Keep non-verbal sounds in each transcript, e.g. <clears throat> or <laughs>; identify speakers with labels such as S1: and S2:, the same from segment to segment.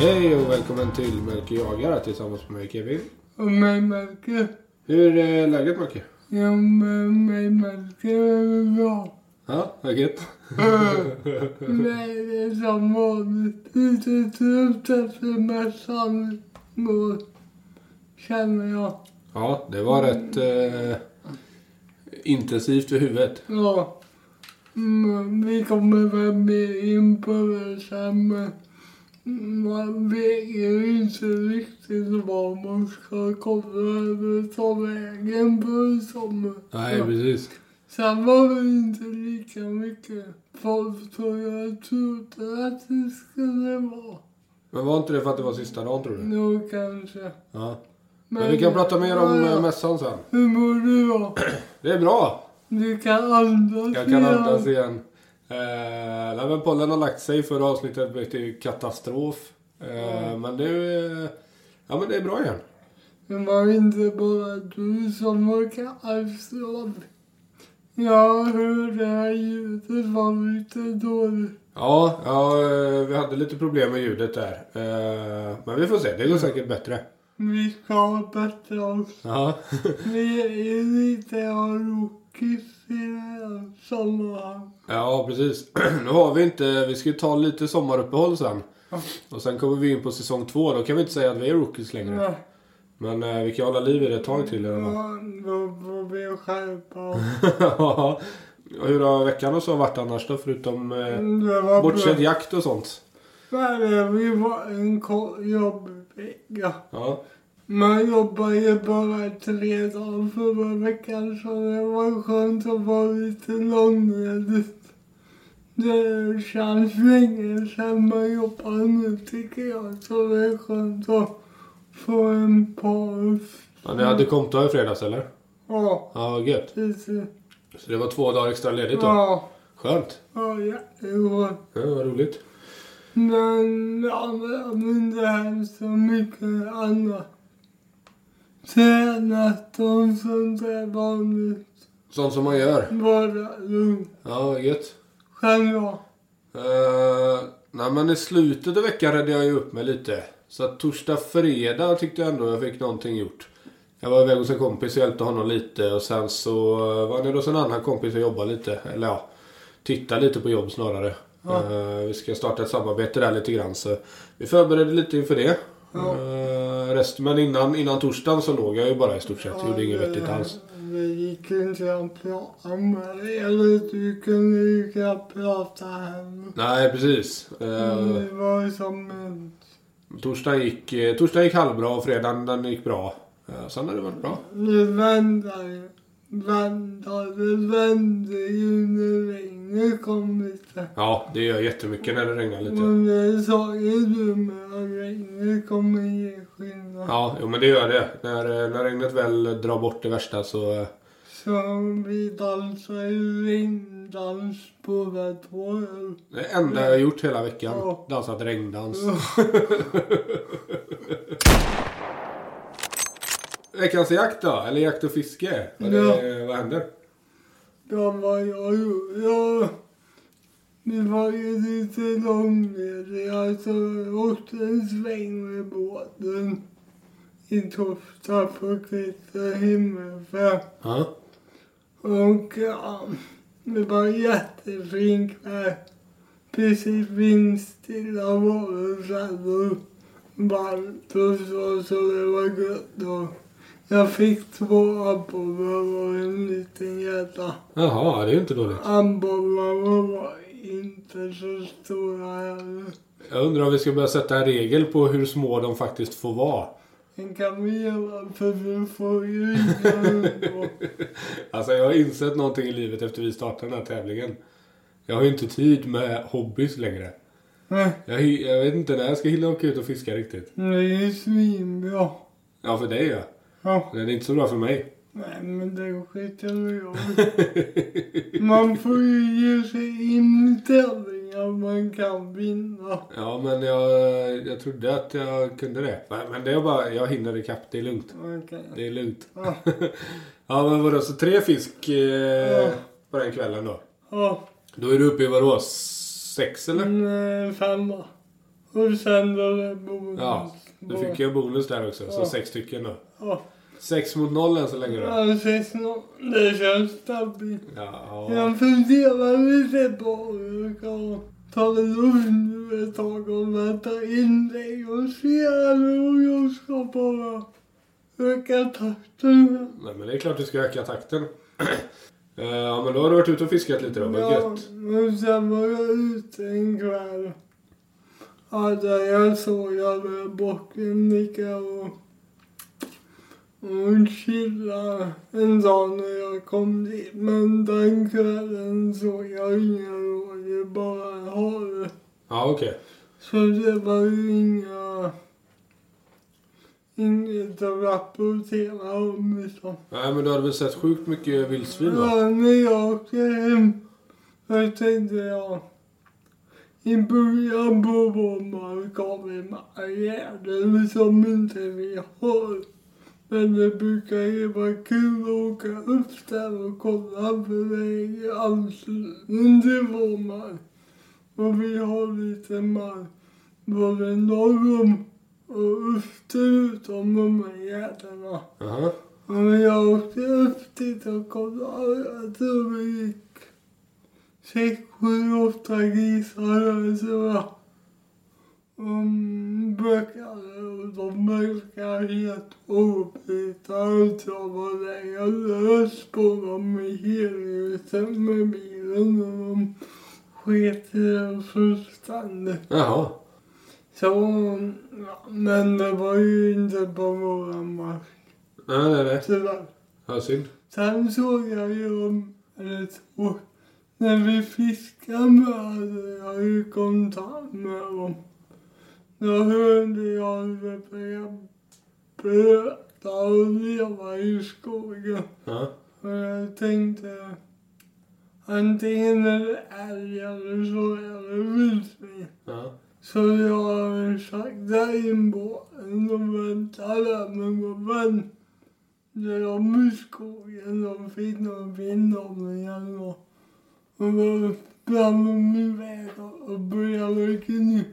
S1: Hej och välkommen till Melker jagar tillsammans med mig Kevin.
S2: Och mig Melke.
S1: Hur är läget Melker?
S2: Ja, med mig Melke är det bra.
S1: Ja, läget?
S2: Men det är som vanligt lite trött efter mässan igår. Känner jag.
S1: Ja, det var rätt eh, intensivt i huvudet.
S2: Ja. Men Mm, vi kommer väl mer in på det sen men man vet ju inte riktigt var man ska komma eller ta vägen på sommaren.
S1: Nej, precis.
S2: Sen var det inte lika mycket folk som jag trodde att det skulle vara.
S1: Men var inte det för att det var sista dagen tror du?
S2: Nu kanske.
S1: Ja. Mm. Men vi kan prata mer om eh, mässan sen.
S2: Hur mår du då?
S1: Det är bra!
S2: Du kan andas
S1: Jag kan
S2: igen.
S1: andas igen. Eh, nej, men pollen har lagt sig. Förra avsnittet blev till katastrof. Eh, Men nu... eh, Ja, men det är bra igen.
S2: Det var inte bara du som orkade avstånd. Jag hör det här ljudet var lite dåligt.
S1: Ja, ja, eh, vi hade lite problem med ljudet där. Eh, Men vi får se, det går säkert bättre.
S2: Vi ska bättre oss.
S1: Ja.
S2: Vi är ju lite rookies i det här sammanhanget.
S1: ja, precis. <clears throat> Nu har vi inte, vi ska ju ta lite sommaruppehåll sen.
S2: Ja.
S1: Och sen kommer vi in på säsong två, då kan vi inte säga att vi är rookies längre.
S2: Nej.
S1: Men eh, vi kan hålla liv i det ett tag till. Eller?
S2: Ja, då får vi skärpa oss.
S1: Ja. Hur har veckan <laughs> och så varit annars då, förutom eh,
S2: Det var
S1: bortsett
S2: bra.
S1: jakt och sånt?
S2: Men vi var en kort jobbvecka.
S1: Ja,
S2: Man jobbar ju bara tre dagar förra veckan så det var skönt att vara lite långledig. Det känns länge sedan man jobbar nu tycker jag så det är skönt att få en paus.
S1: ja ni hade konto i fredags eller?
S2: Ja,
S1: Ja, vad gött.
S2: lite.
S1: Så det var två dagar extra ledigt då?
S2: Ja,
S1: Skönt.
S2: ja, jätteskönt.
S1: Ja, vad roligt.
S2: Men jag använder här så mycket annat. Tränat och sånt där vanligt.
S1: Sånt som man gör.
S2: Bara lugnt.
S1: Ja, vad gött.
S2: Själv då?
S1: Eh, nej men i slutet av veckan räddade jag ju upp mig lite. Så att torsdag, fredag tyckte jag ändå jag fick någonting gjort. Jag var iväg hos en kompis och hjälpte honom lite och sen så eh, var jag nere hos en annan kompis och jobbade lite. Eller ja, titta lite på jobb snarare.
S2: Ja.
S1: Eh, vi ska starta ett samarbete där lite grann så vi förberedde lite inför det.
S2: Ja.
S1: Eh, rest, men innan, innan torsdagen så låg jag ju bara i stort sett. Gjorde inget vettigt alls.
S2: Det gick inte att prata med dig. Eller du kunde ju knappt prata heller.
S1: Nej, precis. Eh,
S2: Det var som en...
S1: Torsdagen gick, eh, torsdagen gick halvbra och fredagen den gick bra. Eh, Sen har det varit bra.
S2: Det väntar ju. Väntar, det vände ju när regnet kom lite.
S1: Ja, det gör jättemycket när det regnar lite.
S2: Men det sa ju du med att regnet kommer ge skillnad.
S1: Ja, jo, men det gör det. När, eh, när regnet väl drar bort det värsta så... eh,
S2: Så vi dansar ju regndans på Vättertorget.
S1: Det enda jag har gjort hela veckan,
S2: Ja.
S1: dansat regndans. <laughs> Veckans jakt då? Eller jakt och fiske? Vad,
S2: Ja.
S1: eh, vad händer?
S2: Ja, vad jag gjorde. Ja, det var ju lite långlediga så jag åkte en sväng med båten i Tofta på Kvittra himmelfärd.
S1: Ja.
S2: Och ja, det var jättefin kväll. Precis vindstilla morgonsällor. Varmt och så, så det var gött. Och jag fick två abborrar och en liten gädda.
S1: Jaha, det är ju inte dåligt.
S2: Abborrarna var inte så stora heller.
S1: Jag undrar om vi ska börja sätta en regel på hur små de faktiskt får vara.
S2: Den kan vi göra för alltså, du får ju inte undgå.
S1: Alltså jag har insett någonting i livet efter vi startade den här tävlingen. Jag har ju inte tid med hobbys längre.
S2: <laughs> Nej,
S1: Jag, hy- jag vet inte när jag ska hinna åka ut och fiska riktigt.
S2: Det är ju svinbra.
S1: Ja, för dig ja.
S2: Ja.
S1: Men det är inte så bra för mig.
S2: Nej, men det skiter jag i. Man får ju ge sig in i tävlingar man kan vinna.
S1: Ja, men jag, jag trodde att jag kunde det. Men men det är bara, jag hinner ikapp. Det är lugnt.
S2: Okej.
S1: Det är lugnt.
S2: Ja,
S1: <laughs> Ja, men vadå, så tre fisk eh,
S2: Ja.
S1: på den kvällen då?
S2: ja. Mm.
S1: Då är du uppe i vadå, sex eller?
S2: En eh, femma. Och sen då det bonus.
S1: Ja, Du fick ju en bonus där också, så
S2: Ja.
S1: sex stycken då.
S2: Ja,
S1: Sex mot noll än så länge då.
S2: ja ses nå. Det känns stabilt.
S1: Ja, ja.
S2: Jag funderar lite på hur jag ska ta det lugnt nu ett tag och vänta in dig och se hur jag ska bara öka takten.
S1: Nej, men det är klart du ska öka takten. <clears throat> Eh, ja, men då har du varit ute och fiskat lite då. Vad gött.
S2: och sen var jag ute en kväll. Ja, där jag såg jag med bocken nicka och och chilla en dag när jag kom dit. Men den kvällen såg jag inga rådjur, bara havet.
S1: Ja, okej.
S2: Så det var ju inga... Inget att rapportera om liksom.
S1: Nej, men du hade väl sett sjukt mycket vildsvin va?
S2: Ja, när jag åkte hem så tänkte jag i början på sommaren kommer marginaler som liksom inte vi har. Men det brukar ju vara kul att åka upp där och kolla för väg i anslutning till vår mark. Och vi har lite mark både norr om och österut om de här gärdena.
S1: Jaha.
S2: Men jag åkte upp dit och kollade. Jag tror det gick sex, sju, åtta grisar som var um, bökade. Och de verkade helt obrutna. Så var det jag lös på dem i helhuset med bilen. Och de sket i det fullständigt.
S1: Jaha.
S2: Så, ja, men det var ju inte på våran mark
S1: Nej, nej, nej.
S2: tyvärr.
S1: Ja, synd.
S2: Sen såg jag ju om, eller två, när vi fiskade med hade jag ju kontakt med dem. Då hörde jag hur det började blöta och leva i skogen.
S1: Ja.
S2: Och jag tänkte, antingen är det älg eller så är det vildsvin.
S1: Ja.
S2: Så jag sakta in båten och väntade, men då väntade de i skogen. De fick någon vind om igen och och då sprang de iväg och började gny-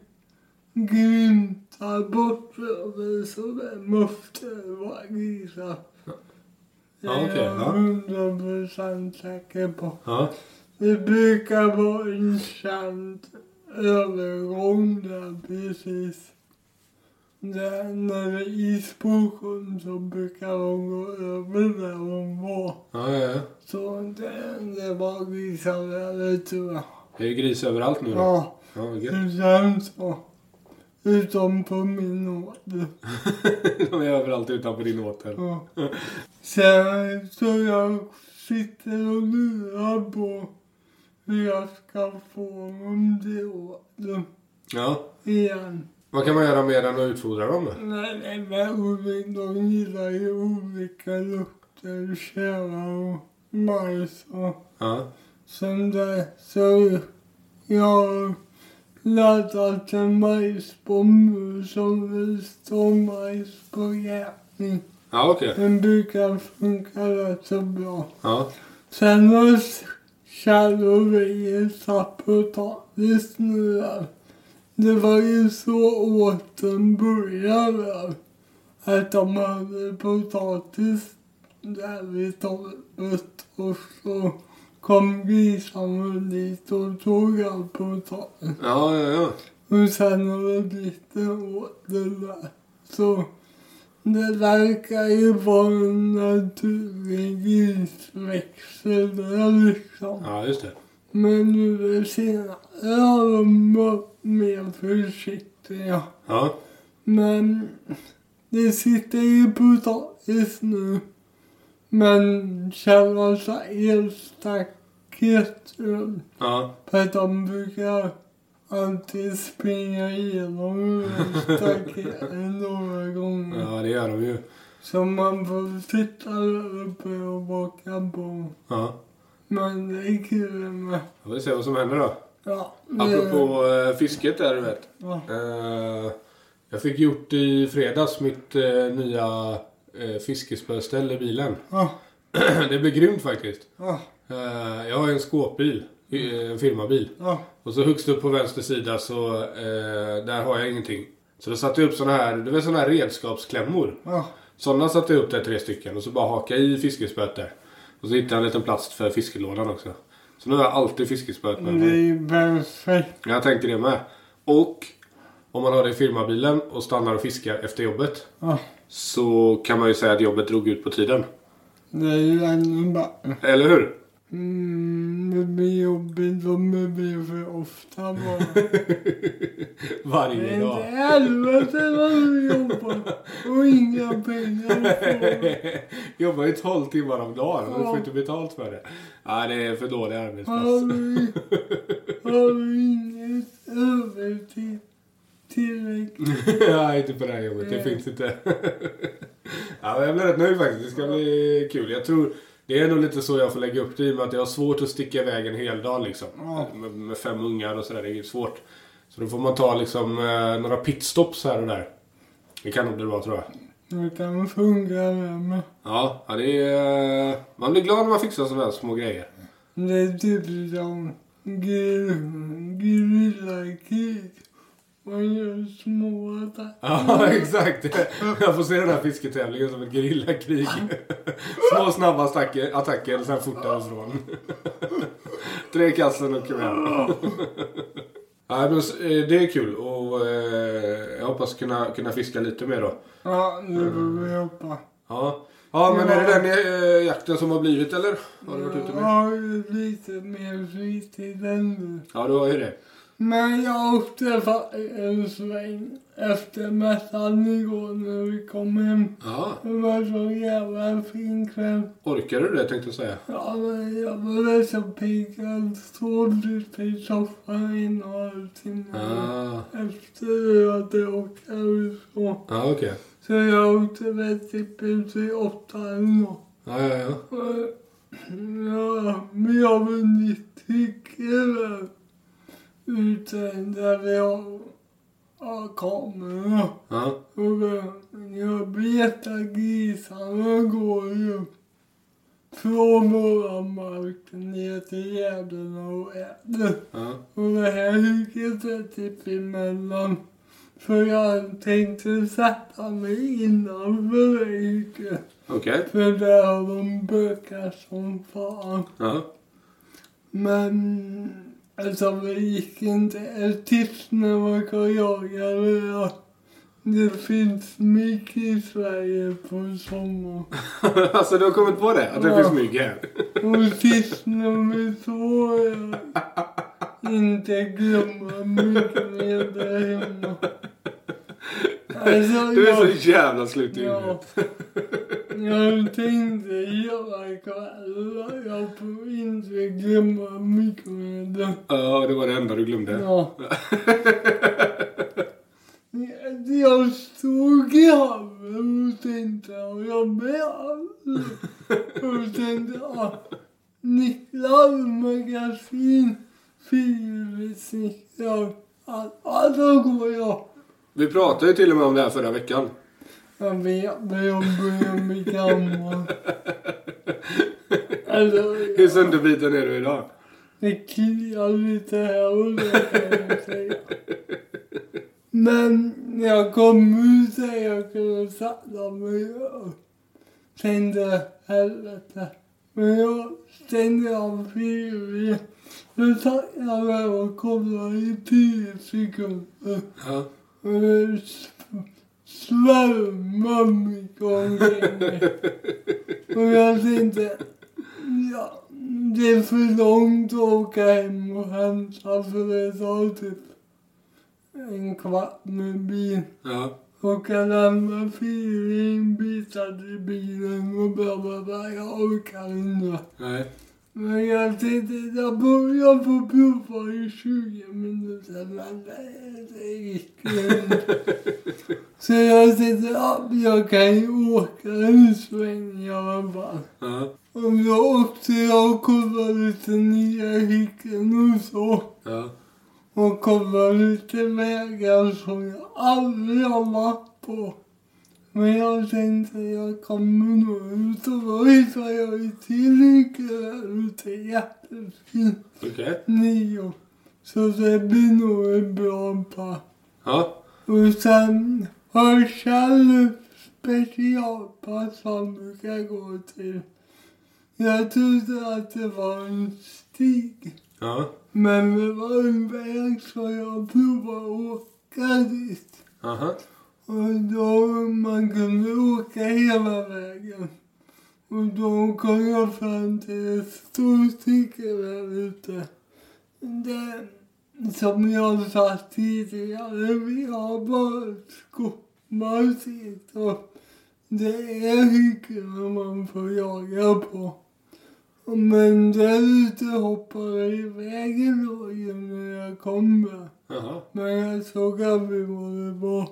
S2: grymta bort över så det måste vara grisar. Det
S1: Ja,
S2: är
S1: okej,
S2: jag
S1: ja.
S2: hundra procent säker på.
S1: Ja.
S2: Det brukar vara en känd övergång där precis. Där, när det är isboken så brukar de gå över där de var.
S1: Ja, ja, ja.
S2: Så det, det var grisar över tror jag.
S1: Det är ju gris överallt nu då.
S2: Ja,
S1: Ja, vad gött. <laughs>
S2: det känns så. Utom på min ålder.
S1: De är överallt utanför din åtel.
S2: Ja. Sen så jag sitter och lurar på hur jag ska få honom till åldern.
S1: Ja.
S2: igen.
S1: Vad kan man göra mer än att utfodra dem då?
S2: Nej, nej, men olika, de gillar ju olika lukter, tjära och majs och
S1: Ja.
S2: sånt där. Så jag har laddat en majsbomb nu som det står majs på jäkning.
S1: Ja, okej.
S2: Den brukar funka rätt så bra.
S1: Ja.
S2: Sen har kalorier satt potatis nu där. Det var ju så åten började där. Att de hade potatis där vid torpet och så kom grisarna dit och tog all potatis.
S1: Ja, ja, ja.
S2: Och sen har det blivit en åtel där. Så det verkar ju vara en naturlig grisväxel där liksom.
S1: Ja, just det.
S2: Men nu är senare har de varit mer försiktiga.
S1: Ja.
S2: Men det sitter ju potatis nu. Men själva så elstacket runt
S1: Ja.
S2: för att de brukar alltid springa igenom staketen några gånger.
S1: Ja, det gör de ju.
S2: Så man får sitta där uppe och baka på.
S1: Ja.
S2: Men det är kul med.
S1: Då får vi se vad som händer då.
S2: Ja, det-
S1: Apropå eh, fisket där du vet.
S2: Ja.
S1: Eh, jag fick gjort i fredags mitt eh, nya uh, fiskespöställ i bilen. <clears throat>
S2: Ja,
S1: det blev grymt faktiskt.
S2: ja,
S1: Eh, jag har ju en skåpbil. eh, en firmabil.
S2: Ja.
S1: Och så högst upp på vänster sida så, eh, där har jag ingenting. Så då satte jag upp såna här, det var såna här redskapsklämmor.
S2: Ja.
S1: Sådana satte jag upp där tre stycken och så bara haka i fiskespöet där. Och så hittade jag en liten plats för fiskelådan också. Så nu har jag alltid fiskespöet med
S2: Det
S1: mig.
S2: är perfekt.
S1: Jag tänkte det med. Och om man har det i firmabilen och stannar och fiskar efter jobbet.
S2: Ja.
S1: Så kan man ju säga att jobbet drog ut på tiden.
S2: Det är ju ännu bättre.
S1: Eller hur?
S2: Mm, det blir jobbigt om det blir för ofta
S1: <laughs>
S2: bara.
S1: Varje
S2: Men
S1: dag.
S2: helvete vad du jobbar och inga pengar att få.
S1: <laughs> Jobbar ju 12 timmar om dagen och du får
S2: Ja.
S1: inte betalt för det. Nej, det är för dålig
S2: Har
S1: arbetsplats.
S2: du, har du inget övertid
S1: <laughs>
S2: tillräckligt?
S1: Nej, inte på det här jobbet. Det
S2: Mm.
S1: finns inte. <laughs> ja, men jag blir rätt nöjd faktiskt. Det ska bli kul. Jag tror det är nog lite så jag får lägga upp det i och med att jag har svårt att sticka iväg en hel dag liksom.
S2: Ja.
S1: Med, med fem ungar och sådär. Det är ju svårt. Så då får man ta liksom eh, några pitstops här och där. Det kan nog bli bra tror jag.
S2: Det kan funka det med.
S1: Ja, ja det är, eh, man blir glad när man fixar sådana här små grejer.
S2: Det är typ som grill- grillakrig. Man gör små attacker.
S1: Ja, <laughs> exakt. Jag får se den här fisketävlingen som ett gerillakrig. Små snabba attacker, attacker och sen fort därifrån. <laughs> Tre kassen och kom hem. Nej, men s- eh, det är kul och eh, jag hoppas kunna, kunna fiska lite mer då.
S2: Ja, nu får vi hoppa.
S1: Ja, ja men är det den eh, jakten som har blivit eller? Har du varit ute
S2: Jag
S1: med?
S2: har ju lite mer fritid än nu.
S1: Ja, du har ju det.
S2: Men jag åkte faktiskt en sväng efter mässan igår när vi kom hem.
S1: Ja,
S2: Det var så jävla fin kväll.
S1: orkar du det tänkte jag säga.
S2: Ja, men jag var väl så pigg. Jag sov lite i soffan i några timmar.
S1: Ah,
S2: Efter att jag åkte härifrån.
S1: ja okej.
S2: Så jag åkte väl typ ut vid åtta eller nåt.
S1: Ja, ja, ja.
S2: Och, Ja, men jag har vunnit tycker ute där vi har, har kameror.
S1: Ja,
S2: Och eh, jag betar grisarna går ju från våra mark ner till gärdena och äter.
S1: ja.
S2: Och det här huset är typ emellan. För jag tänkte sätta mig innanför det huset.
S1: Okej.
S2: För där har de bökar som fan.
S1: Ja.
S2: Men alltså det gick inte ett tips när man kan jaga. det. Ja, Det finns mycket i Sverige på sommaren.
S1: alltså du har kommit på det? Att det
S2: Ja.
S1: finns mygg här?
S2: Och tips nummer två är att inte glömma myggmedel där hemma. Alltså,
S1: Du är
S2: jag-
S1: så jävla slut i
S2: Ja.
S1: huvudet.
S2: Jag tänkte göra kvällar. Jag får inte glömma myggmedel.
S1: Ja, det var det enda du glömde.
S2: <laughs> Ja. Jag stod i hallen och tänkte och jag blev Och tänkte ja, Niklas magasin fyrhjulssnickare. Alltså går jag.
S1: Vi pratade ju till och med om det här förra veckan.
S2: Jag vet men jag börjar bli gammal. Alltså,
S1: Hur sönderbiten är du idag?
S2: Det kliar lite här och där kan jag säga. Men när jag kom ut där jag kunde sätta mig och tänkte helvete. Men jag stängde av tvn. Då satt jag där och kollade i tio sekunder.
S1: Ja.
S2: Och det sv- svärmade mycket omkring mig. Och jag tänkte, ja, det är för långt att åka hem och hämta för det tar typ en kvart med bil.
S1: Ja.
S2: Och jag lämnar fyra bitar till bilen och bla bla bla. Jag orkar inte.
S1: Nej.
S2: Men jag tänkte, jag får, jag får prova i 20 minuter, men det, det gick inte. Så jag tänkte, ja, jag kan ju åka en sväng i alla fall.
S1: Ja.
S2: Och då åkte jag och kollade lite nya hycken och så.
S1: Ja.
S2: Och kollade lite vägar som jag aldrig har varit på. Men jag tänkte jag kommer nog ut och visa. Jag är tillräckligt väl ute. Jättefin
S1: Okej.
S2: nio. Så det blir nog en bra pass.
S1: Ja.
S2: Och sen har Kjell specialpass han brukar gå till. Jag trodde att det var en stig.
S1: Ja.
S2: Men det var en väg så jag provade att åka dit.
S1: Aha.
S2: Och då man kunde åka hela vägen. Och då kom jag fram till ett stort stycke där ute. Det som jag sa tidigare, vi har bara skogsmark och det är hyggen man får jaga på. Men där ute hoppade iväg rådjuren när jag kom. Med.
S1: Jaha.
S2: Men jag såg aldrig vad det var.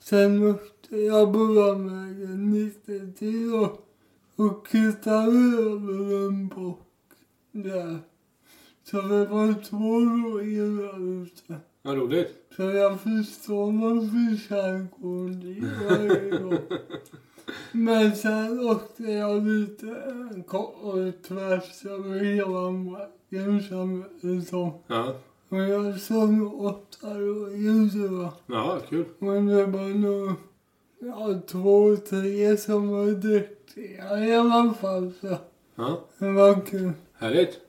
S2: Sen åkte jag bara vägen lite till och, och kutade över en bock där. Så det var två rådjur där ute.
S1: Vad roligt.
S2: Så jag förstår varför Kjell går dit varje gång. Men sen åkte jag lite kort tvärs över hela marken kändes det som.
S1: Ja.
S2: Och jag såg nog åtta rådjur va.
S1: Ja, kul.
S2: Men det var nog ja, två, tre som var duktiga i alla fall. Så
S1: Ja.
S2: det var kul.
S1: Härligt.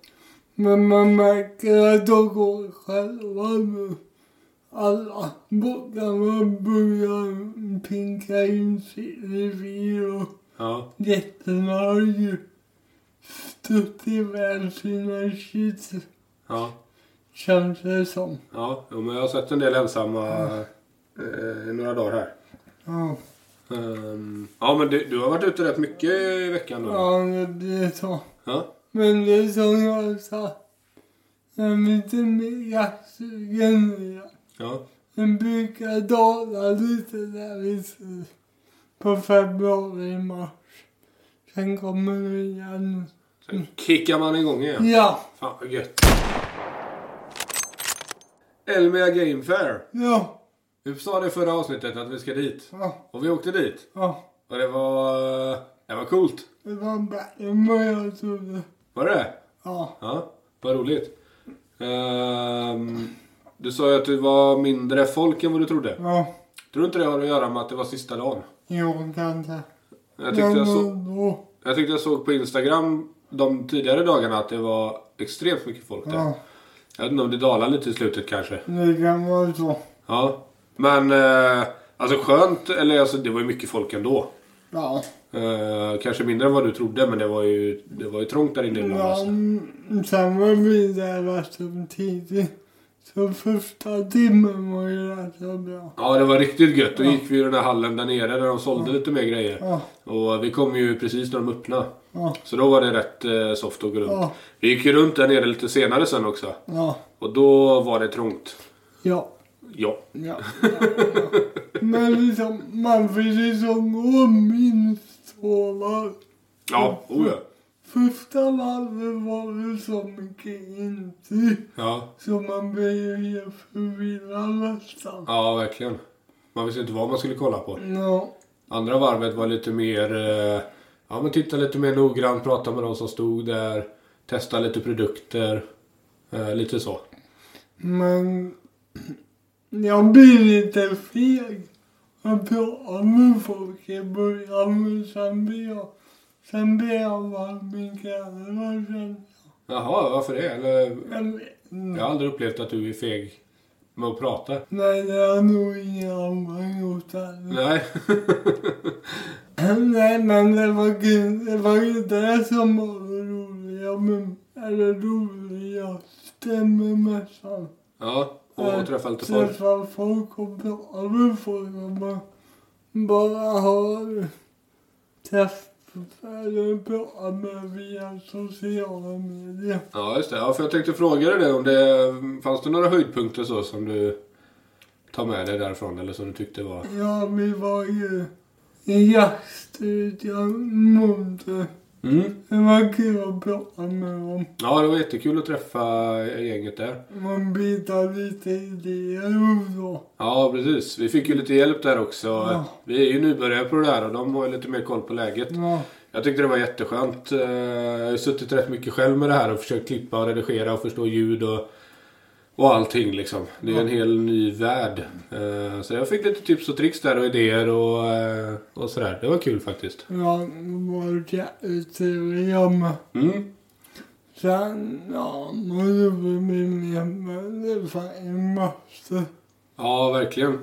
S2: Men man märker att de går själva nu. Alla bockarna börjar pinka in sitt revir och
S1: Ja.
S2: getterna har ju stött iväg sina kids,
S1: Ja.
S2: känns det som.
S1: Ja. Jo, men jag har sett en del ensamma eh, i några dagar här.
S2: Ja,
S1: Ehm, ja, men du, du har varit ute rätt mycket i veckan då?
S2: ja det blir så.
S1: Ja.
S2: Men det är som jag sa, jag är lite mer jaktsugen nu.
S1: Ja.
S2: Den brukar dala lite där vid på februari, mars. Sen kommer det igen.
S1: Sen kickar man igång igen.
S2: Ja,
S1: Fan vad gött. Elmia Game Fair.
S2: ja,
S1: Vi sa det förra avsnittet att vi ska dit.
S2: ja,
S1: Och vi åkte dit.
S2: ja.
S1: Och det var... Det var coolt.
S2: Det var bättre än vad jag trodde.
S1: Var det det
S2: Ja,
S1: Ja, vad roligt. Ehm, du sa ju att det var mindre folk än vad du trodde.
S2: ja,
S1: Tror du inte det har att göra med att det var sista dagen?
S2: jo, kanske.
S1: Jag tyckte jag, så,
S2: då,
S1: jag, tyckte jag såg på Instagram de tidigare dagarna att det var extremt mycket folk där.
S2: ja,
S1: Jag vet inte om det dalade lite i slutet kanske.
S2: det kan vara så.
S1: Ja, men eh, alltså skönt, eller alltså det var ju mycket folk ändå.
S2: Ja,
S1: Eh, kanske mindre än vad du trodde, men det var ju, det var ju trångt där inne ibland.
S2: ja
S1: Alltså.
S2: mm, sen var vi där rätt så tidigt. Så första timmen var ju rätt så bra.
S1: Ja, det var riktigt gött. Då gick vi i den här hallen där nere där de sålde lite mer grejer.
S2: Ja,
S1: Och vi kom ju precis när de öppnade.
S2: ja,
S1: Så då var det rätt eh, soft att gå runt.
S2: ja,
S1: Vi gick ju runt där nere lite senare sen också.
S2: ja.
S1: Och då var det trångt.
S2: ja.
S1: Ja.
S2: Ja. Men liksom, man vill liksom gå minst två varv.
S1: Ja, oh ja.
S2: Första varvet var det så mycket intryck
S1: Ja,
S2: så man blev ju helt förvirrad nästan.
S1: ja verkligen. Man visste inte vad man skulle kolla på.
S2: Ja.
S1: Andra varvet var lite mer... eh, Ja, men titta lite mer noggrant, prata med de som stod där. Testa lite produkter. eh, Lite så.
S2: Men jag blir lite feg att prata med folk i början men sen blir jag, sen blir jag varm i kläderna känner
S1: Jaha, varför det? Eller,
S2: jag. Jag vet inte.
S1: jag har aldrig upplevt att du är feg med att prata.
S2: Nej, det har nog ingen annan gjort heller.
S1: Nej. <laughs>
S2: Nej, men det var, kul. det var ju det som var det roliga med, eller roligaste med mässan.
S1: Ja, och träffa lite folk.
S2: Träffa folk och prata med folk och man bara har träff eller prata med via sociala medier.
S1: Ja, just det. Ja, för jag tänkte fråga dig det, om det fanns det några höjdpunkter så som du tar med dig därifrån eller som du tyckte var...
S2: Ja, vi var ju i jaktstudion Monte
S1: Mm.
S2: Det var kul att prata med dem.
S1: Ja, det var jättekul att träffa gänget där.
S2: Man bildar lite idéer och så.
S1: Ja, precis. Vi fick ju lite hjälp där också.
S2: Ja.
S1: Vi är ju nybörjare på det där och de har ju lite mer koll på läget.
S2: Ja,
S1: Jag tyckte det var jätteskönt. Eh, Jag har ju suttit rätt mycket själv med det här och försökt klippa och redigera och förstå ljud och, och allting liksom. Det är ju en hel ny värld. Eh, Så jag fick lite tips och tricks där och idéer och, eh, och sådär. Det var kul faktiskt.
S2: ja det var jättetrevliga med.
S1: Mm.
S2: Sen, ja, man gjorde mig mer men det fan en massa.
S1: Ja, verkligen.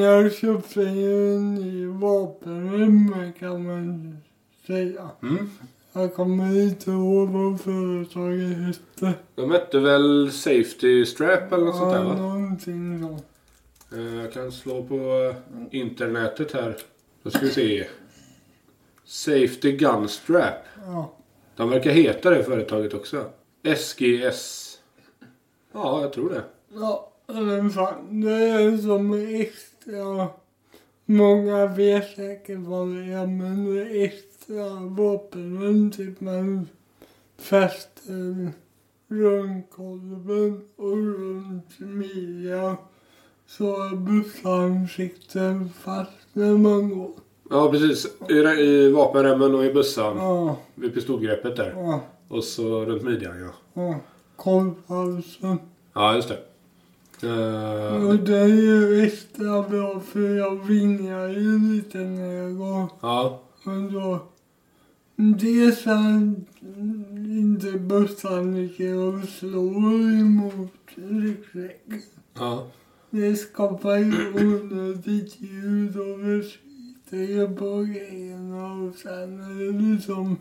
S2: Jag köpte ju en ny vapenrymma kan man säga.
S1: Mm.
S2: Jag kommer inte ihåg vad företaget hette.
S1: De hette väl Safety Strap eller något sånt där
S2: Ja,
S1: va?
S2: någonting sånt.
S1: Eh, Jag kan slå på eh, internetet här. Då ska vi se. Safety Gun Strap.
S2: Ja.
S1: De verkar heta det företaget också. SGS. Ja, jag tror det.
S2: Ja, men fan, det är som extra... Många vet säkert vad det är, men det är extra vapen. Typ man fäster runt kolven och runt midjan så att bussansikten fast när man går.
S1: Ja, precis. I, I vapenremmen och i bössan.
S2: Ja,
S1: Vid pistolgreppet där.
S2: ja,
S1: Och så runt midjan, ja.
S2: ja. Kolvhalsen.
S1: Ja, just det. Eh,
S2: Och det är ju extra bra för jag vinglar ju lite när jag går.
S1: ja.
S2: Men då... Dels är inte bössaniker och slår emot ryggsäcken.
S1: Ja.
S2: Det skapar ju onödigt ljud och det sliter ju på grejerna. Och sen är det liksom...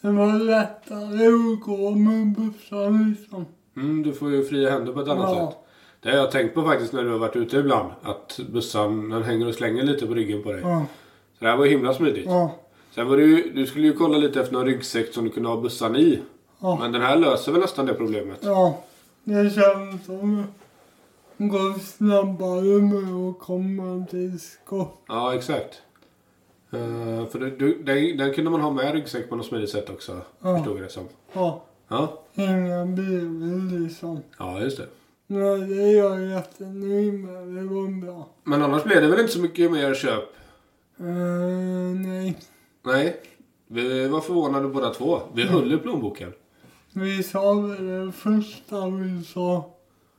S2: Det var lättare att gå med bössan liksom.
S1: Mm, du får ju fria händer på ett annat
S2: Ja.
S1: sätt. Det har jag tänkt på faktiskt när du har varit ute ibland. Att bössan, den hänger och slänger lite på ryggen på dig.
S2: Ja,
S1: Så det här var ju himla smidigt.
S2: ja,
S1: Sen var det ju, du skulle ju kolla lite efter någon ryggsäck som du kunde ha bössan i.
S2: ja.
S1: Men den här löser väl nästan det problemet.
S2: Ja, det känns som det går snabbare med att komma till skott.
S1: Ja, exakt. Eh, för det, du, den, den kunde man ha med i ryggsäck på något smidigt sätt också,
S2: Ja.
S1: förstod jag det som.
S2: Ja,
S1: Ja,
S2: inga bilar liksom.
S1: ja just det.
S2: Nej, det är jag jättenöjd med. Det går bra.
S1: Men annars blev det väl inte så mycket mer köp?
S2: Eh, nej,
S1: Nej. Vi var förvånade båda två. Vi höll i plånboken.
S2: vi sa väl det första vi sa.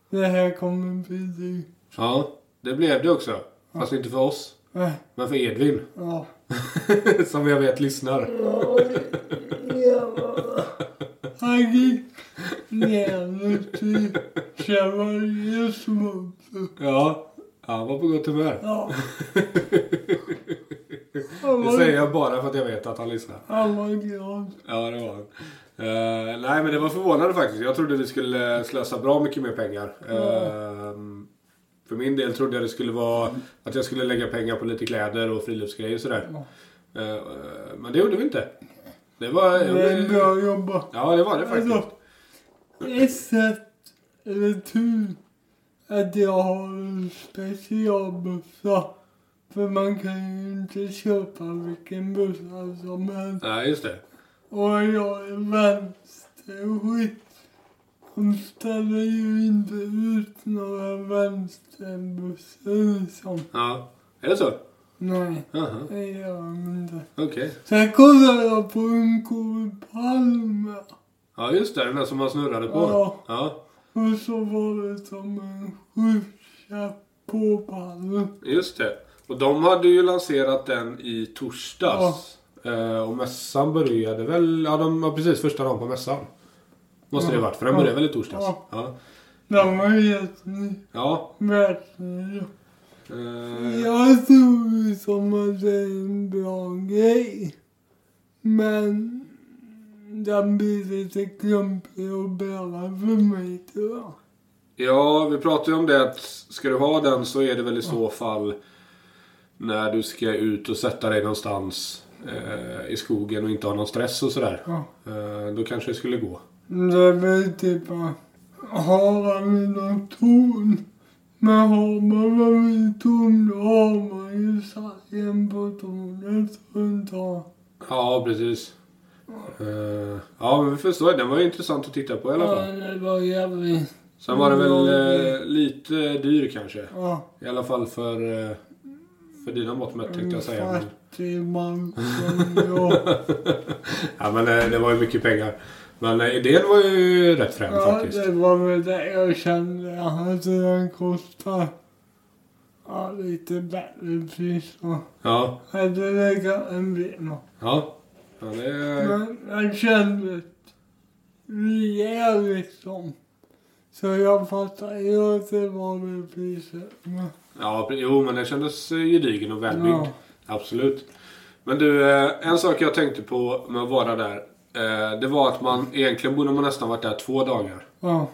S2: Det här kommer bli dyrt.
S1: Ja, det blev det också. Fast inte för oss,
S2: Eh,
S1: men för Edvin. <laughs>
S2: ja.
S1: som jag vet lyssnar.
S2: Han gick ner till Chevaliers motor.
S1: Ja, han var på gott humör.
S2: Ja.
S1: Det säger jag bara för att jag vet att han lyssnar.
S2: Han var glad.
S1: Ja, det var han. Eh, nej, men det var förvånande faktiskt. Jag trodde vi skulle slösa bra mycket mer pengar. Eh, för min del trodde jag det skulle vara att jag skulle lägga pengar på lite kläder och friluftsgrejer och sådär. Eh, men det gjorde vi inte. Det var...
S2: Det är bra jobbat.
S1: Ja, det var det faktiskt.
S2: Alltså, ett sätt, eller tur, att jag har en specialbössa. För man kan ju inte köpa vilken bössa som helst.
S1: Nej, just det.
S2: Och jag är vänsterskytt. De ställer ju inte ut några vänsterbössor liksom.
S1: Ja. Är det så?
S2: Nej,
S1: Aha,
S2: det gör de inte.
S1: okej.
S2: Sen kollade jag på en god palm.
S1: Ja, just det. Den där som man snurrade på.
S2: Ja.
S1: ja.
S2: Och så var det som en skjutkäpp på palmen.
S1: Just det. Och de hade ju lanserat den i torsdags. Eh, och mässan började väl... Ja, de var precis första dagen på mässan. Måste det ha varit, för den
S2: Ja.
S1: började väl i torsdags?
S2: Ja.
S1: Ja.
S2: Den var helt ny.
S1: Ja.
S2: Världsny.
S1: Eh,
S2: Jag tror ju som att det är en bra grej. Men den blir lite klumpig och bräda för mig tror jag.
S1: ja, vi pratade ju om det att ska du ha den så är det väl i så fall när du ska ut och sätta dig någonstans eh, i skogen och inte ha någon stress och sådär.
S2: Ja.
S1: Eh, då kanske det skulle gå.
S2: Det är väl typ att har han någon ton. Men har man väl en ton då har man ju sargen på tornet runt om.
S1: Ja, precis. Eh, ja, men vi förstår. Den var ju intressant att titta på i alla
S2: Ja,
S1: fall.
S2: det var jävligt...
S1: Sen var den väl
S2: Ja.
S1: eh, lite dyr kanske.
S2: Ja.
S1: I alla fall för, eh, för dina mått mätt tänkte jag säga.
S2: Mm,
S1: Men,
S2: Fattig man
S1: <laughs>
S2: som jag.
S1: ja, men eh, det var ju mycket pengar. Men eh, idén var ju rätt frän
S2: Ja,
S1: faktiskt.
S2: det var väl det jag kände. Hade den kostat ja, lite bättre pris så
S1: Ja,
S2: hade det gått en bit mer.
S1: ja. ja det,
S2: Men jag kände rejält som. Så jag fattar ju att det var väl priset. Men,
S1: ja, jo, men den kändes eh, gedigen och välbyggd.
S2: ja.
S1: Absolut. Men du, eh, en sak jag tänkte på med att vara där. eh, Det var att man egentligen borde man nästan varit där två dagar.
S2: ja.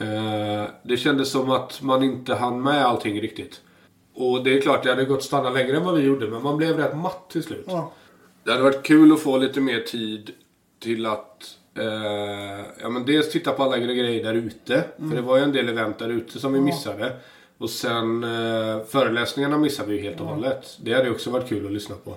S1: Eh, Det kändes som att man inte hann med allting riktigt. Och det är klart, det hade gått att stanna längre än vad vi gjorde, men man blev rätt matt till slut.
S2: ja.
S1: Det hade varit kul att få lite mer tid till att eh, ja, men dels titta på alla grejer där ute. För det var ju en del event där ute som vi
S2: Ja.
S1: missade. Och sen eh, föreläsningarna missade vi ju helt och hållet. Det hade också varit kul att lyssna på.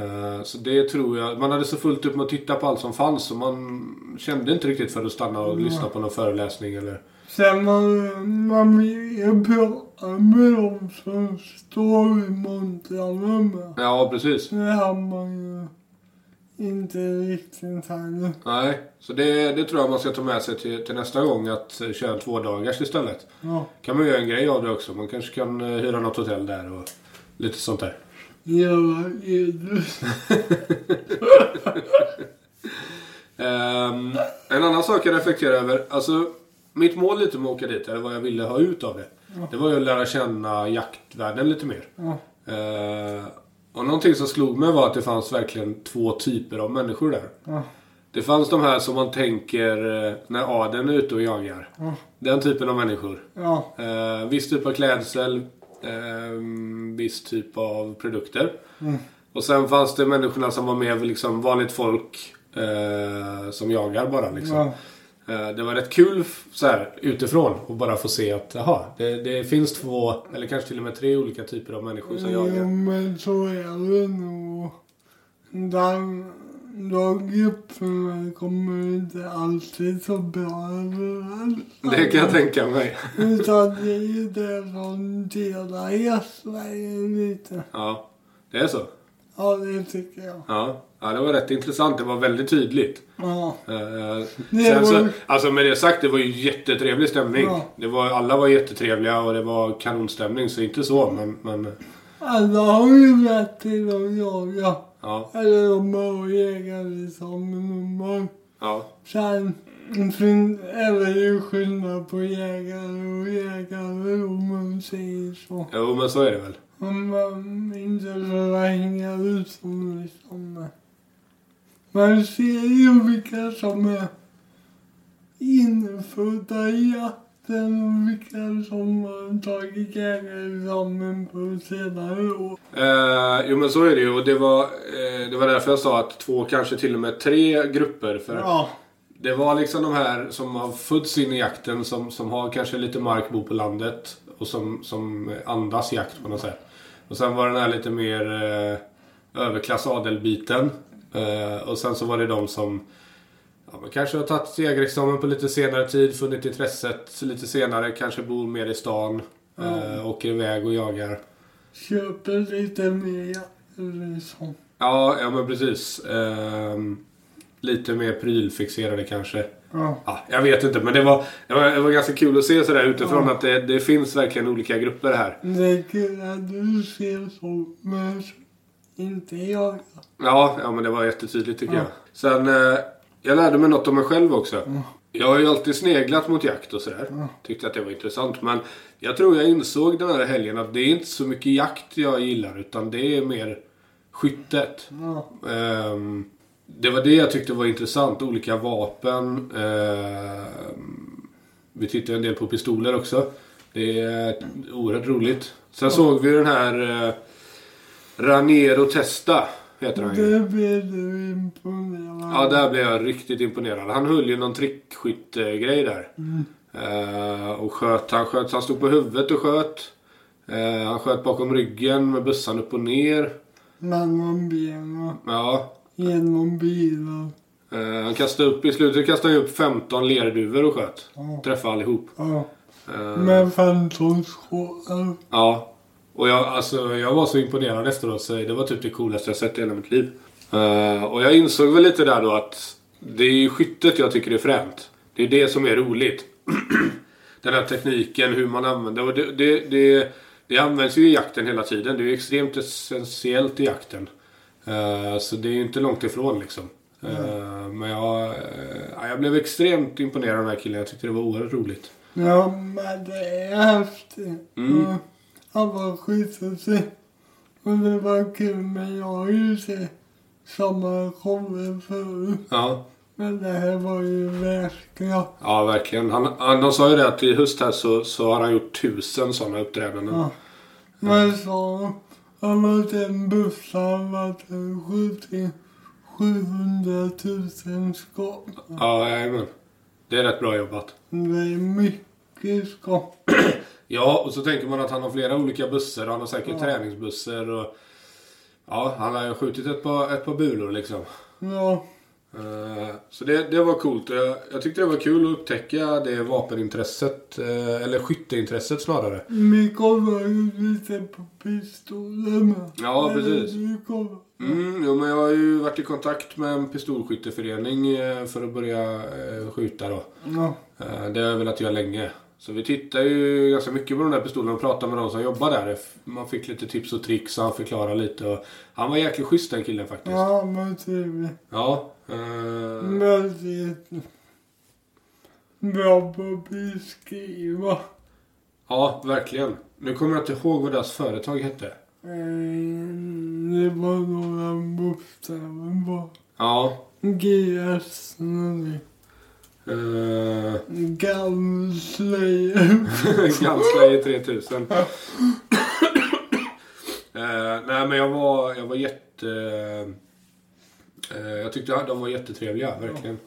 S1: Eh, så det tror jag. Man hade så fullt upp med att titta på allt som fanns så man kände inte riktigt för att stanna och
S2: Nej.
S1: lyssna på någon föreläsning eller...
S2: Sen man, man vill ju prata med dem som står i montrarna med.
S1: Ja, precis.
S2: Det har man ju inte riktigt heller.
S1: Nej, så det, det tror jag man ska ta med sig till, till nästa gång att eh, köra en tvådagars istället.
S2: Ja.
S1: kan man göra en grej av det också. Man kanske kan eh, hyra något hotell där och lite sånt där.
S2: Göra edus.
S1: Ehm, en annan sak jag reflekterar över. Alltså, mitt mål lite med att åka dit, eller vad jag ville ha ut av det.
S2: Ja.
S1: Det var ju att lära känna jaktvärlden lite mer.
S2: Ja.
S1: Ehm, och någonting som slog mig var att det fanns verkligen två typer av människor där.
S2: Ja.
S1: Det fanns de här som man tänker eh, när adeln är ute och jagar.
S2: Ja.
S1: Den typen av människor.
S2: Ja.
S1: Eh, viss typ av klädsel, eh, viss typ av produkter.
S2: Mm.
S1: Och sen fanns det människorna som var mer liksom vanligt folk eh, som jagar bara. Liksom.
S2: Ja.
S1: Eh, det var rätt kul f- så här, utifrån och bara få se att jaha, det, det finns två, eller kanske till och med tre olika typer av människor som
S2: Jo,
S1: jagar.
S2: men så är det nog. Den, de grupperna kommer inte alltid så bra överens.
S1: Det kan jag tänka mig.
S2: Utan det är ju det som delar hela Sverige lite.
S1: Ja, det är så.
S2: Ja, det tycker jag.
S1: Ja. ja, det var rätt intressant. Det var väldigt tydligt.
S2: Ja.
S1: Eh,
S2: Det
S1: Sen
S2: var-
S1: så, alltså med det sagt, det var ju jättetrevlig stämning.
S2: Ja.
S1: Det var, alla var jättetrevliga och det var kanonstämning, så inte så. Men, men
S2: Alla har ju rätt till att jaga.
S1: ja,
S2: Eller de har jägare som nummer.
S1: ja,
S2: liksom, Sen fin- är det ju skillnad på jägare och jägare om man säger så.
S1: jo men så är det väl.
S2: Om man inte behöver hänga ut dem liksom. Man ser ju vilka som är infödda i jakten och vilka som har tagit jägarexamen på senare år.
S1: Eh, jo men så är det ju och det var, eh, det var därför jag sa att två, kanske till och med tre grupper. För
S2: Ja.
S1: Det var liksom de här som har fötts in i jakten, som, som har kanske lite mark, bor på landet och som, som andas jakt på något sätt. Och sen var den här lite mer eh, överklassadelbiten. Eh, och sen så var det de som ja, men kanske har tagit jägarexamen på lite senare tid, funnit intresset lite senare, kanske bor mer i stan, eh, åker iväg och jagar.
S2: Köper lite mer jakter liksom.
S1: Ja, ja men precis. Ehm, lite mer prylfixerade kanske.
S2: Ja.
S1: Ja, jag vet inte, men det var, det var, det var ganska kul att se sådär utifrån
S2: Ja.
S1: att det, det finns verkligen olika grupper här.
S2: Det är kul att du ser så, men inte jag.
S1: Ja, ja men det var jättetydligt tycker
S2: Ja.
S1: jag. Sen, eh, jag lärde mig något om mig själv också.
S2: Ja.
S1: Jag har ju alltid sneglat mot jakt och sådär.
S2: Ja.
S1: Tyckte att det var intressant. Men jag tror jag insåg den här helgen att det är inte så mycket jakt jag gillar, utan det är mer skyttet.
S2: Ja.
S1: Ehm, det var det jag tyckte var intressant. Olika vapen. Ehm, vi tittade en del på pistoler också. Det är oerhört roligt. Sen såg vi den här eh, Ranero Testa. Heter han ju.
S2: Det blir du imponerad
S1: Ja, där blev jag riktigt imponerad. Han höll ju någon trickskyttegrej där.
S2: Mm.
S1: Eh, och sköt. Han sköt. så Han stod på huvudet och sköt. Eh, han sköt bakom ryggen med bössan upp och ner.
S2: Mellan benen,
S1: Ja,
S2: genom bilen.
S1: Eh, han kastade upp, i slutet kastade han upp 15 lerduvor och sköt.
S2: Ja.
S1: Träffade allihop.
S2: ja.
S1: Eh,
S2: Med fantonsskålar.
S1: Ja. Och jag, alltså, jag var så imponerad efteråt. Så det var typ det coolaste jag sett i hela mitt liv. Eh, och jag insåg väl lite där då att det är ju skyttet jag tycker är fränt. Det är det som är roligt. <clears throat> Den här tekniken, hur man använder och det. Det, det, det används ju i jakten hela tiden. Det är ju extremt essentiellt i jakten. Eh, så det är ju inte långt ifrån liksom. Eh, Men jag, eh, jag blev extremt imponerad av den här killen. Jag tyckte det var oerhört roligt.
S2: Ja, men det är häftigt.
S1: Mm.
S2: Och Han var skitsuccé. Och det var kul, men jag har ju sett samma shower förut.
S1: Ja.
S2: Men det här var ju världsklass.
S1: Ja, verkligen. Han, han, de sa ju det att i höst här så, så har han gjort tusen sådana uppträdanden.
S2: Ja. Men så, han har sen bussarna till 70 700 000 skott.
S1: Ja, jajamän. Det är rätt bra jobbat.
S2: Det är mycket skott.
S1: Ja, och så tänker man att han har flera olika bussar. Han har säkert
S2: Ja.
S1: träningsbussar och... Ja, han har ju skjutit ett par, ett par bulor liksom.
S2: Ja,
S1: Eh, Så det, det var coolt. Jag, jag tyckte det var kul att upptäcka det vapenintresset. eh, Eller skytteintresset snarare.
S2: vi kollar ju lite på pistoler med.
S1: Ja, precis.
S2: Eller vi kollar.
S1: Mm, jo, men jag har ju varit i kontakt med en pistolskytteförening eh, för att börja eh, skjuta då.
S2: Ja.
S1: Eh, Det har jag velat göra länge. Så vi tittar ju ganska mycket på de där pistolerna och pratar med de som jobbar där. Man fick lite tips och tricks och han förklarade lite. Och han var jäkligt schysst den killen faktiskt. Ja.
S2: Ja, men trevligt.
S1: eh,
S2: Väldigt bra på att beskriva.
S1: ja, verkligen. Nu kommer jag inte ihåg vad deras företag hette.
S2: Eh, Det var några bokstäver bara.
S1: Ja.
S2: GS någonting.
S1: Eh,
S2: <laughs> Gunslayer.
S1: <laughs> Gunslayer 3000. eh, nej men jag var, jag var jätte... Eh, jag tyckte att de var jättetrevliga, verkligen.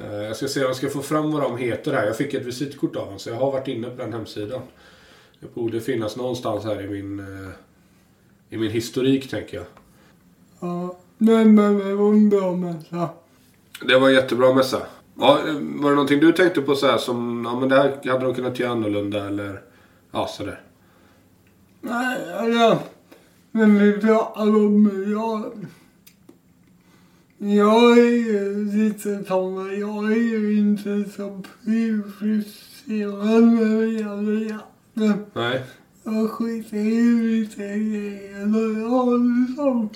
S1: Eh, jag ska se om jag ska få fram vad de heter här. Jag fick ett visitkort av dem så jag har varit inne på den hemsidan. Det borde finnas någonstans här i min, eh, i min historik tänker jag.
S2: Ja. Nej men det var en bra människa.
S1: Det var en jättebra mässa. Ja, eh, var det någonting du tänkte på så här som, ja men det här hade de kunnat göra annorlunda eller, ja sådär.
S2: Nej, ja. Men vi pratar om alltså, jag. Jag är ju lite som, jag är ju inte så prioriterad när det gäller jakten.
S1: Nej.
S2: Jag skiter i lite grejer och jag liksom,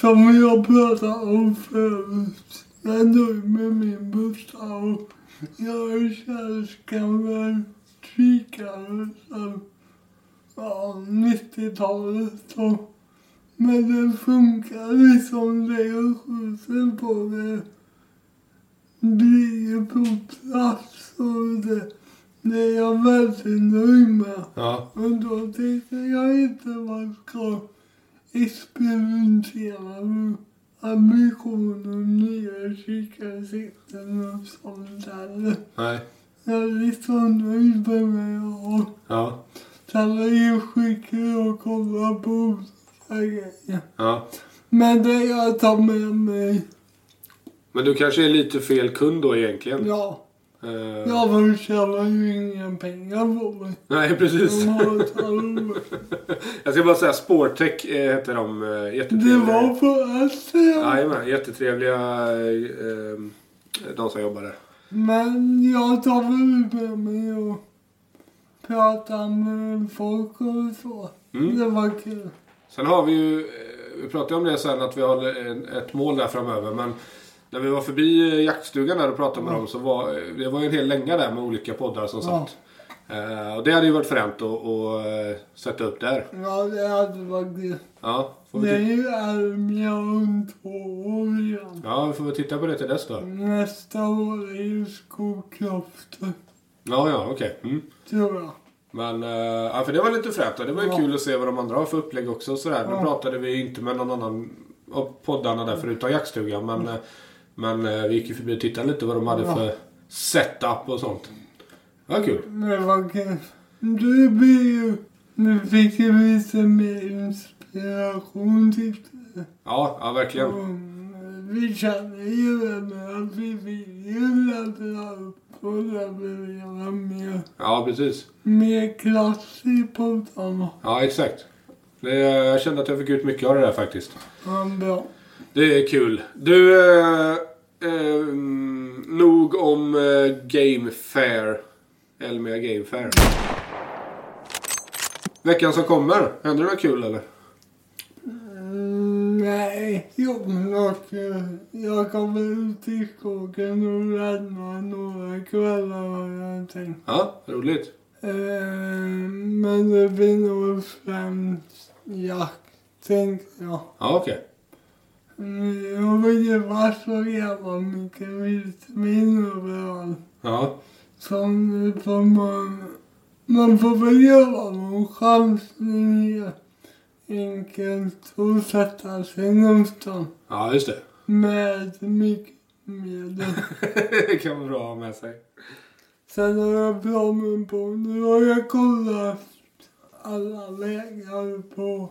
S2: som jag pratade om förut. Jag är nöjd med min bostad och jag känns gammal kikare som, ja, 90-talet och men det funkar liksom det jag skjuter på det blir ju på plats och det, det är jag väldigt nöjd med.
S1: Ja.
S2: Men då tänkte jag inte man ska experimentera med ambition och nya kikarsikten och sånt där.
S1: Nej.
S2: Jag är liksom nöjd med mig och
S1: Ja.
S2: sen är ju skicklig att kolla på olika grejer.
S1: Ja.
S2: Men det jag tar med mig,
S1: Men du kanske är lite fel kund då egentligen?
S2: ja.
S1: Eh,
S2: Jag får tjäna ju inga pengar på det.
S1: Nej, precis.
S2: De har ett halvår.
S1: Jag ska bara säga Sportech eh, heter de. eh,
S2: Det
S1: Jättetrevliga.
S2: var på Asia.
S1: Jajamän, jättetrevliga eh, eh, de som jobbar där.
S2: Men jag tar väl med mig och pratar med folk och så.
S1: Mm.
S2: Det var kul.
S1: Sen har vi ju, eh, vi pratade om det sen att vi har en- ett mål där framöver men när vi var förbi eh, jaktstugan där och pratade med
S2: Ja.
S1: dem så var eh, det var ju en hel länga där med olika poddar som
S2: Ja.
S1: satt. Eh, och det hade ju varit fränt att, att eh, sätta upp där.
S2: Ja, det hade varit kul.
S1: Ja, får vi
S2: Det är
S1: ti-
S2: ju Elmia om två år igen.
S1: ja, vi får väl titta på det till dess då.
S2: Nästa år är ju Skokloster,
S1: Ja, ja, okej. Mm.
S2: tror jag.
S1: Men eh, ja, för det var lite fränt och det var ju
S2: Ja.
S1: kul att se vad de andra har för upplägg också och sådär. Nu
S2: Ja.
S1: pratade vi inte med någon annan av poddarna där förutom jaktstugan men, eh, men eh, vi gick ju förbi och tittade lite vad de hade
S2: Mm. Ja.
S1: för setup och sånt. Det var kul.
S2: Det var kul. Du blir ju... Du fick ju lite mer inspiration, tyckte jag.
S1: Ja, ja verkligen.
S2: Mm, vi känner ju det att vi vill ju lätta upp och det vill göra mer,
S1: Ja, precis.
S2: mer klass i poddarna.
S1: Ja, exakt. Det, eh, jag kände att jag fick ut mycket av det där faktiskt.
S2: Ja, bra.
S1: Det är kul. Du, eh, eh, mm, nog om eh, Game Fair. Elmia Game Fair. Veckan som kommer, händer det något kul eller?
S2: Mm, Nej, jag, jag, jag kommer ut i skogen och räddar några kvällar har jag tänkt.
S1: Ja, roligt.
S2: Eh, men det blir nog främst jakt, tänkte jag.
S1: Ja, okej.
S2: Mm, Jag vill ju vara så jävla mycket vildsvin överallt.
S1: Ja.
S2: Som nu får man... Man får väl göra någon chansning helt enkelt och sätta sig någonstans
S1: ja, just det.
S2: med mycket medel.
S1: <laughs> det kan vara bra att ha med sig.
S2: Sen har jag planen på, nu har jag kollat alla vägar på,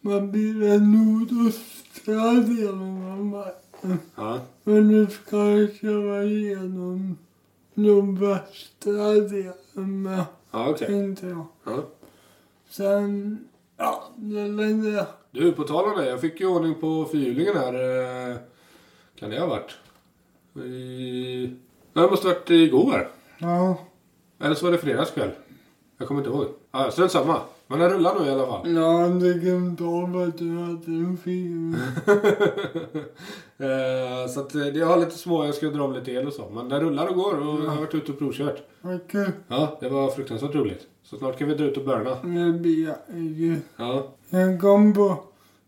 S2: vad blir det, nordöstra delen av marken.
S1: Ja,
S2: Men nu ska jag köra igenom nordvästra delen med,
S1: ja okej.
S2: tänkte jag.
S1: Ja.
S2: Sen, ja, det är väl det.
S1: Du, på tal om det. Jag fick ju ordning på fyrhjulingen här. eh, Kan det ha varit? I... Nej, det måste ha varit igår.
S2: Ja.
S1: Eller så var det fredagskväll. Jag kommer inte ihåg. Ja, ah, strunt samma. Men den rullar nu i alla fall. <laughs>
S2: Jag hade glömt av att du hade en film.
S1: Eh, så att, eh, jag har lite små, jag ska dra om lite el och så. Men den rullar och går och jag har varit ute och provkört.
S2: Vad kul.
S1: Ja, det var fruktansvärt roligt. Så snart kan vi dra ut och börna.
S2: Nu blir jag ju...
S1: Ja,
S2: Jag kom på,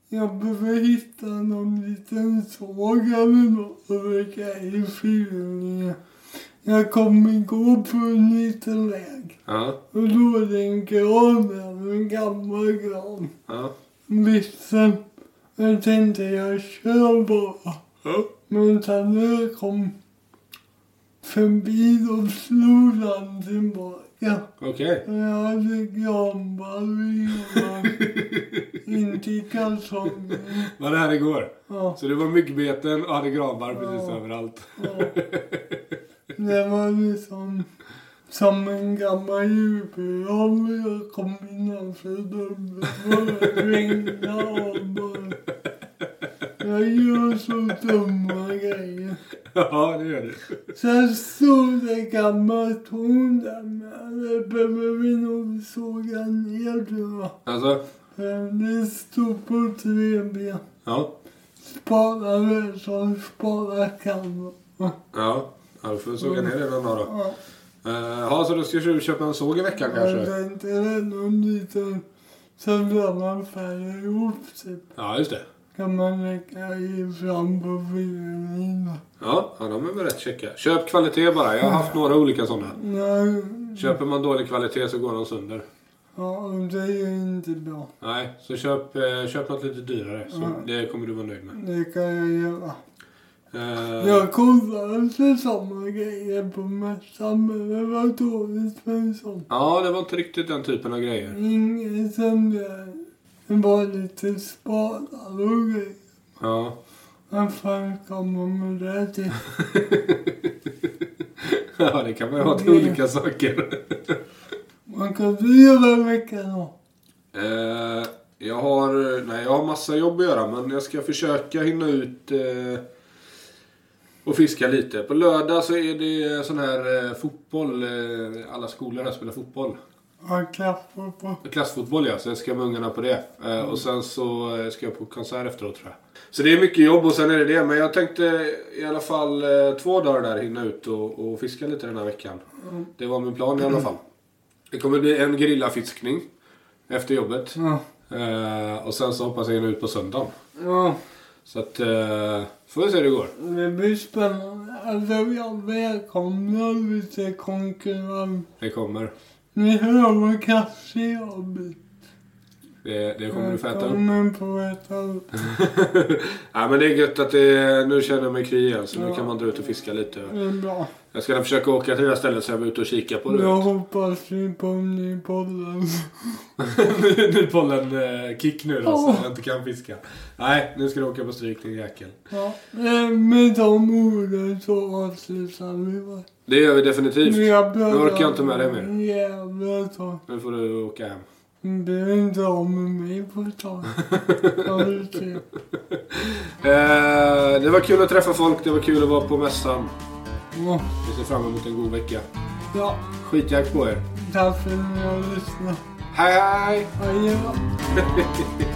S2: jag behöver hitta någon liten såg eller något och grej i filmningen. Jag kom igår på en liten väg
S1: ja,
S2: och då är det en gran där, en gammal gran.
S1: ja.
S2: Visste, jag tänkte jag kör bara.
S1: Ja,
S2: Men sen när jag kom förbi då slog den tillbaka.
S1: Okej.
S2: Jag hade granbarr i hela- inte i kalsongerna.
S1: Var det här igår?
S2: Ja,
S1: Så du var myggbeten och hade granbarr precis
S2: Ja.
S1: överallt. <laughs>
S2: ja. Det var liksom som en gammal julgran jag kom innanför dörren. Det regnade och bara... Jag gör så dumma grejer.
S1: ja, det gör du.
S2: Sen stod det gammalt torn där med. Det behöver vi nog såga ner tror jag.
S1: Alltså,
S2: Eh, Det stod på tre ben.
S1: ja.
S2: Spara det som spara kan.
S1: Ja, ja du får såga ner det någon dag då.
S2: Ja,
S1: Eh, Ja, så då ska du köpa en såg i veckan kanske?
S2: det är inte det någon liten... Sen blir man färdig ihop typ.
S1: Ja, just det.
S2: Kan man lägga i fram på fingrarna.
S1: Ja, ja de är väl rätt checka. Köp kvalitet bara. Jag har haft några olika sådana.
S2: Nej,
S1: Köper man dålig kvalitet så går de sönder.
S2: ja, och det är ju inte bra.
S1: Nej, så köp, eh, köp något lite dyrare. Så
S2: Ja.
S1: Det kommer du vara nöjd med.
S2: Det kan jag göra.
S1: Eh,
S2: Jag kollade efter samma grejer på mässan men det var dåligt för en sån.
S1: Ja, det var inte riktigt den typen av grejer.
S2: Inget som det det var lite spadar och grejer.
S1: Ja. <laughs>
S2: Vad fan kom man med det till?
S1: ja, det kan man ju ha till olika saker.
S2: Man kan bli över veckan då.
S1: Eh, jag har, nej, jag har massa jobb att göra men jag ska försöka hinna ut eh, och fiska lite. På lördag så är det sån här eh, fotboll. Eh, alla skolor här spelar fotboll.
S2: Ha klappar på.
S1: Klassfotboll ja, så jag ska med ungarna på det. Eh, och sen så eh, ska jag på konsert efteråt tror jag. Så det är mycket jobb och sen är det det. Men jag tänkte i alla fall eh, två dagar där hinna ut och, och fiska lite den här veckan.
S2: Mm.
S1: Det var min plan i alla fall. Det kommer bli en grillafiskning efter jobbet.
S2: Ja.
S1: Eh, och sen så hoppas jag hinna ut på söndagen.
S2: Ja.
S1: Så att, eh, får vi se hur det går.
S2: Det blir spännande. Alltså jag välkomnar lite konkurrens.
S1: Det kommer.
S2: Ni hör vad kaxig jag blir.
S1: Det, det kommer du få äta <laughs> upp.
S2: Välkommen på ett tag.
S1: Nej men det är gött att det, nu känner jag mig kry igen så nu
S2: Ja.
S1: kan man dra ut och fiska lite.
S2: Det är bra.
S1: Jag ska försöka åka till det här stället så jag var ute och kika på det.
S2: Jag hoppas vi på en ny podden.
S1: <laughs> nu nu pollen eh, kick nu då så
S2: Åh.
S1: jag inte kan fiska. Nej, nu ska du åka på stryk din jäkel.
S2: Ja, eh, med de orden så avslutar vi va.
S1: Det gör vi definitivt.
S2: Nu
S1: orkar jag inte med dig mer.
S2: Jävla tag.
S1: Nu får du åka hem.
S2: Bry inte om mig på
S1: <laughs>
S2: ett tag. Ja, just det.
S1: Eh, det var kul att träffa folk, det var kul att vara på mässan.
S2: Ja,
S1: Vi ser fram emot en god vecka.
S2: Ja,
S1: Skitjakt på er.
S2: tack för att ni har lyssnat.
S1: Hej hej!
S2: Adjö.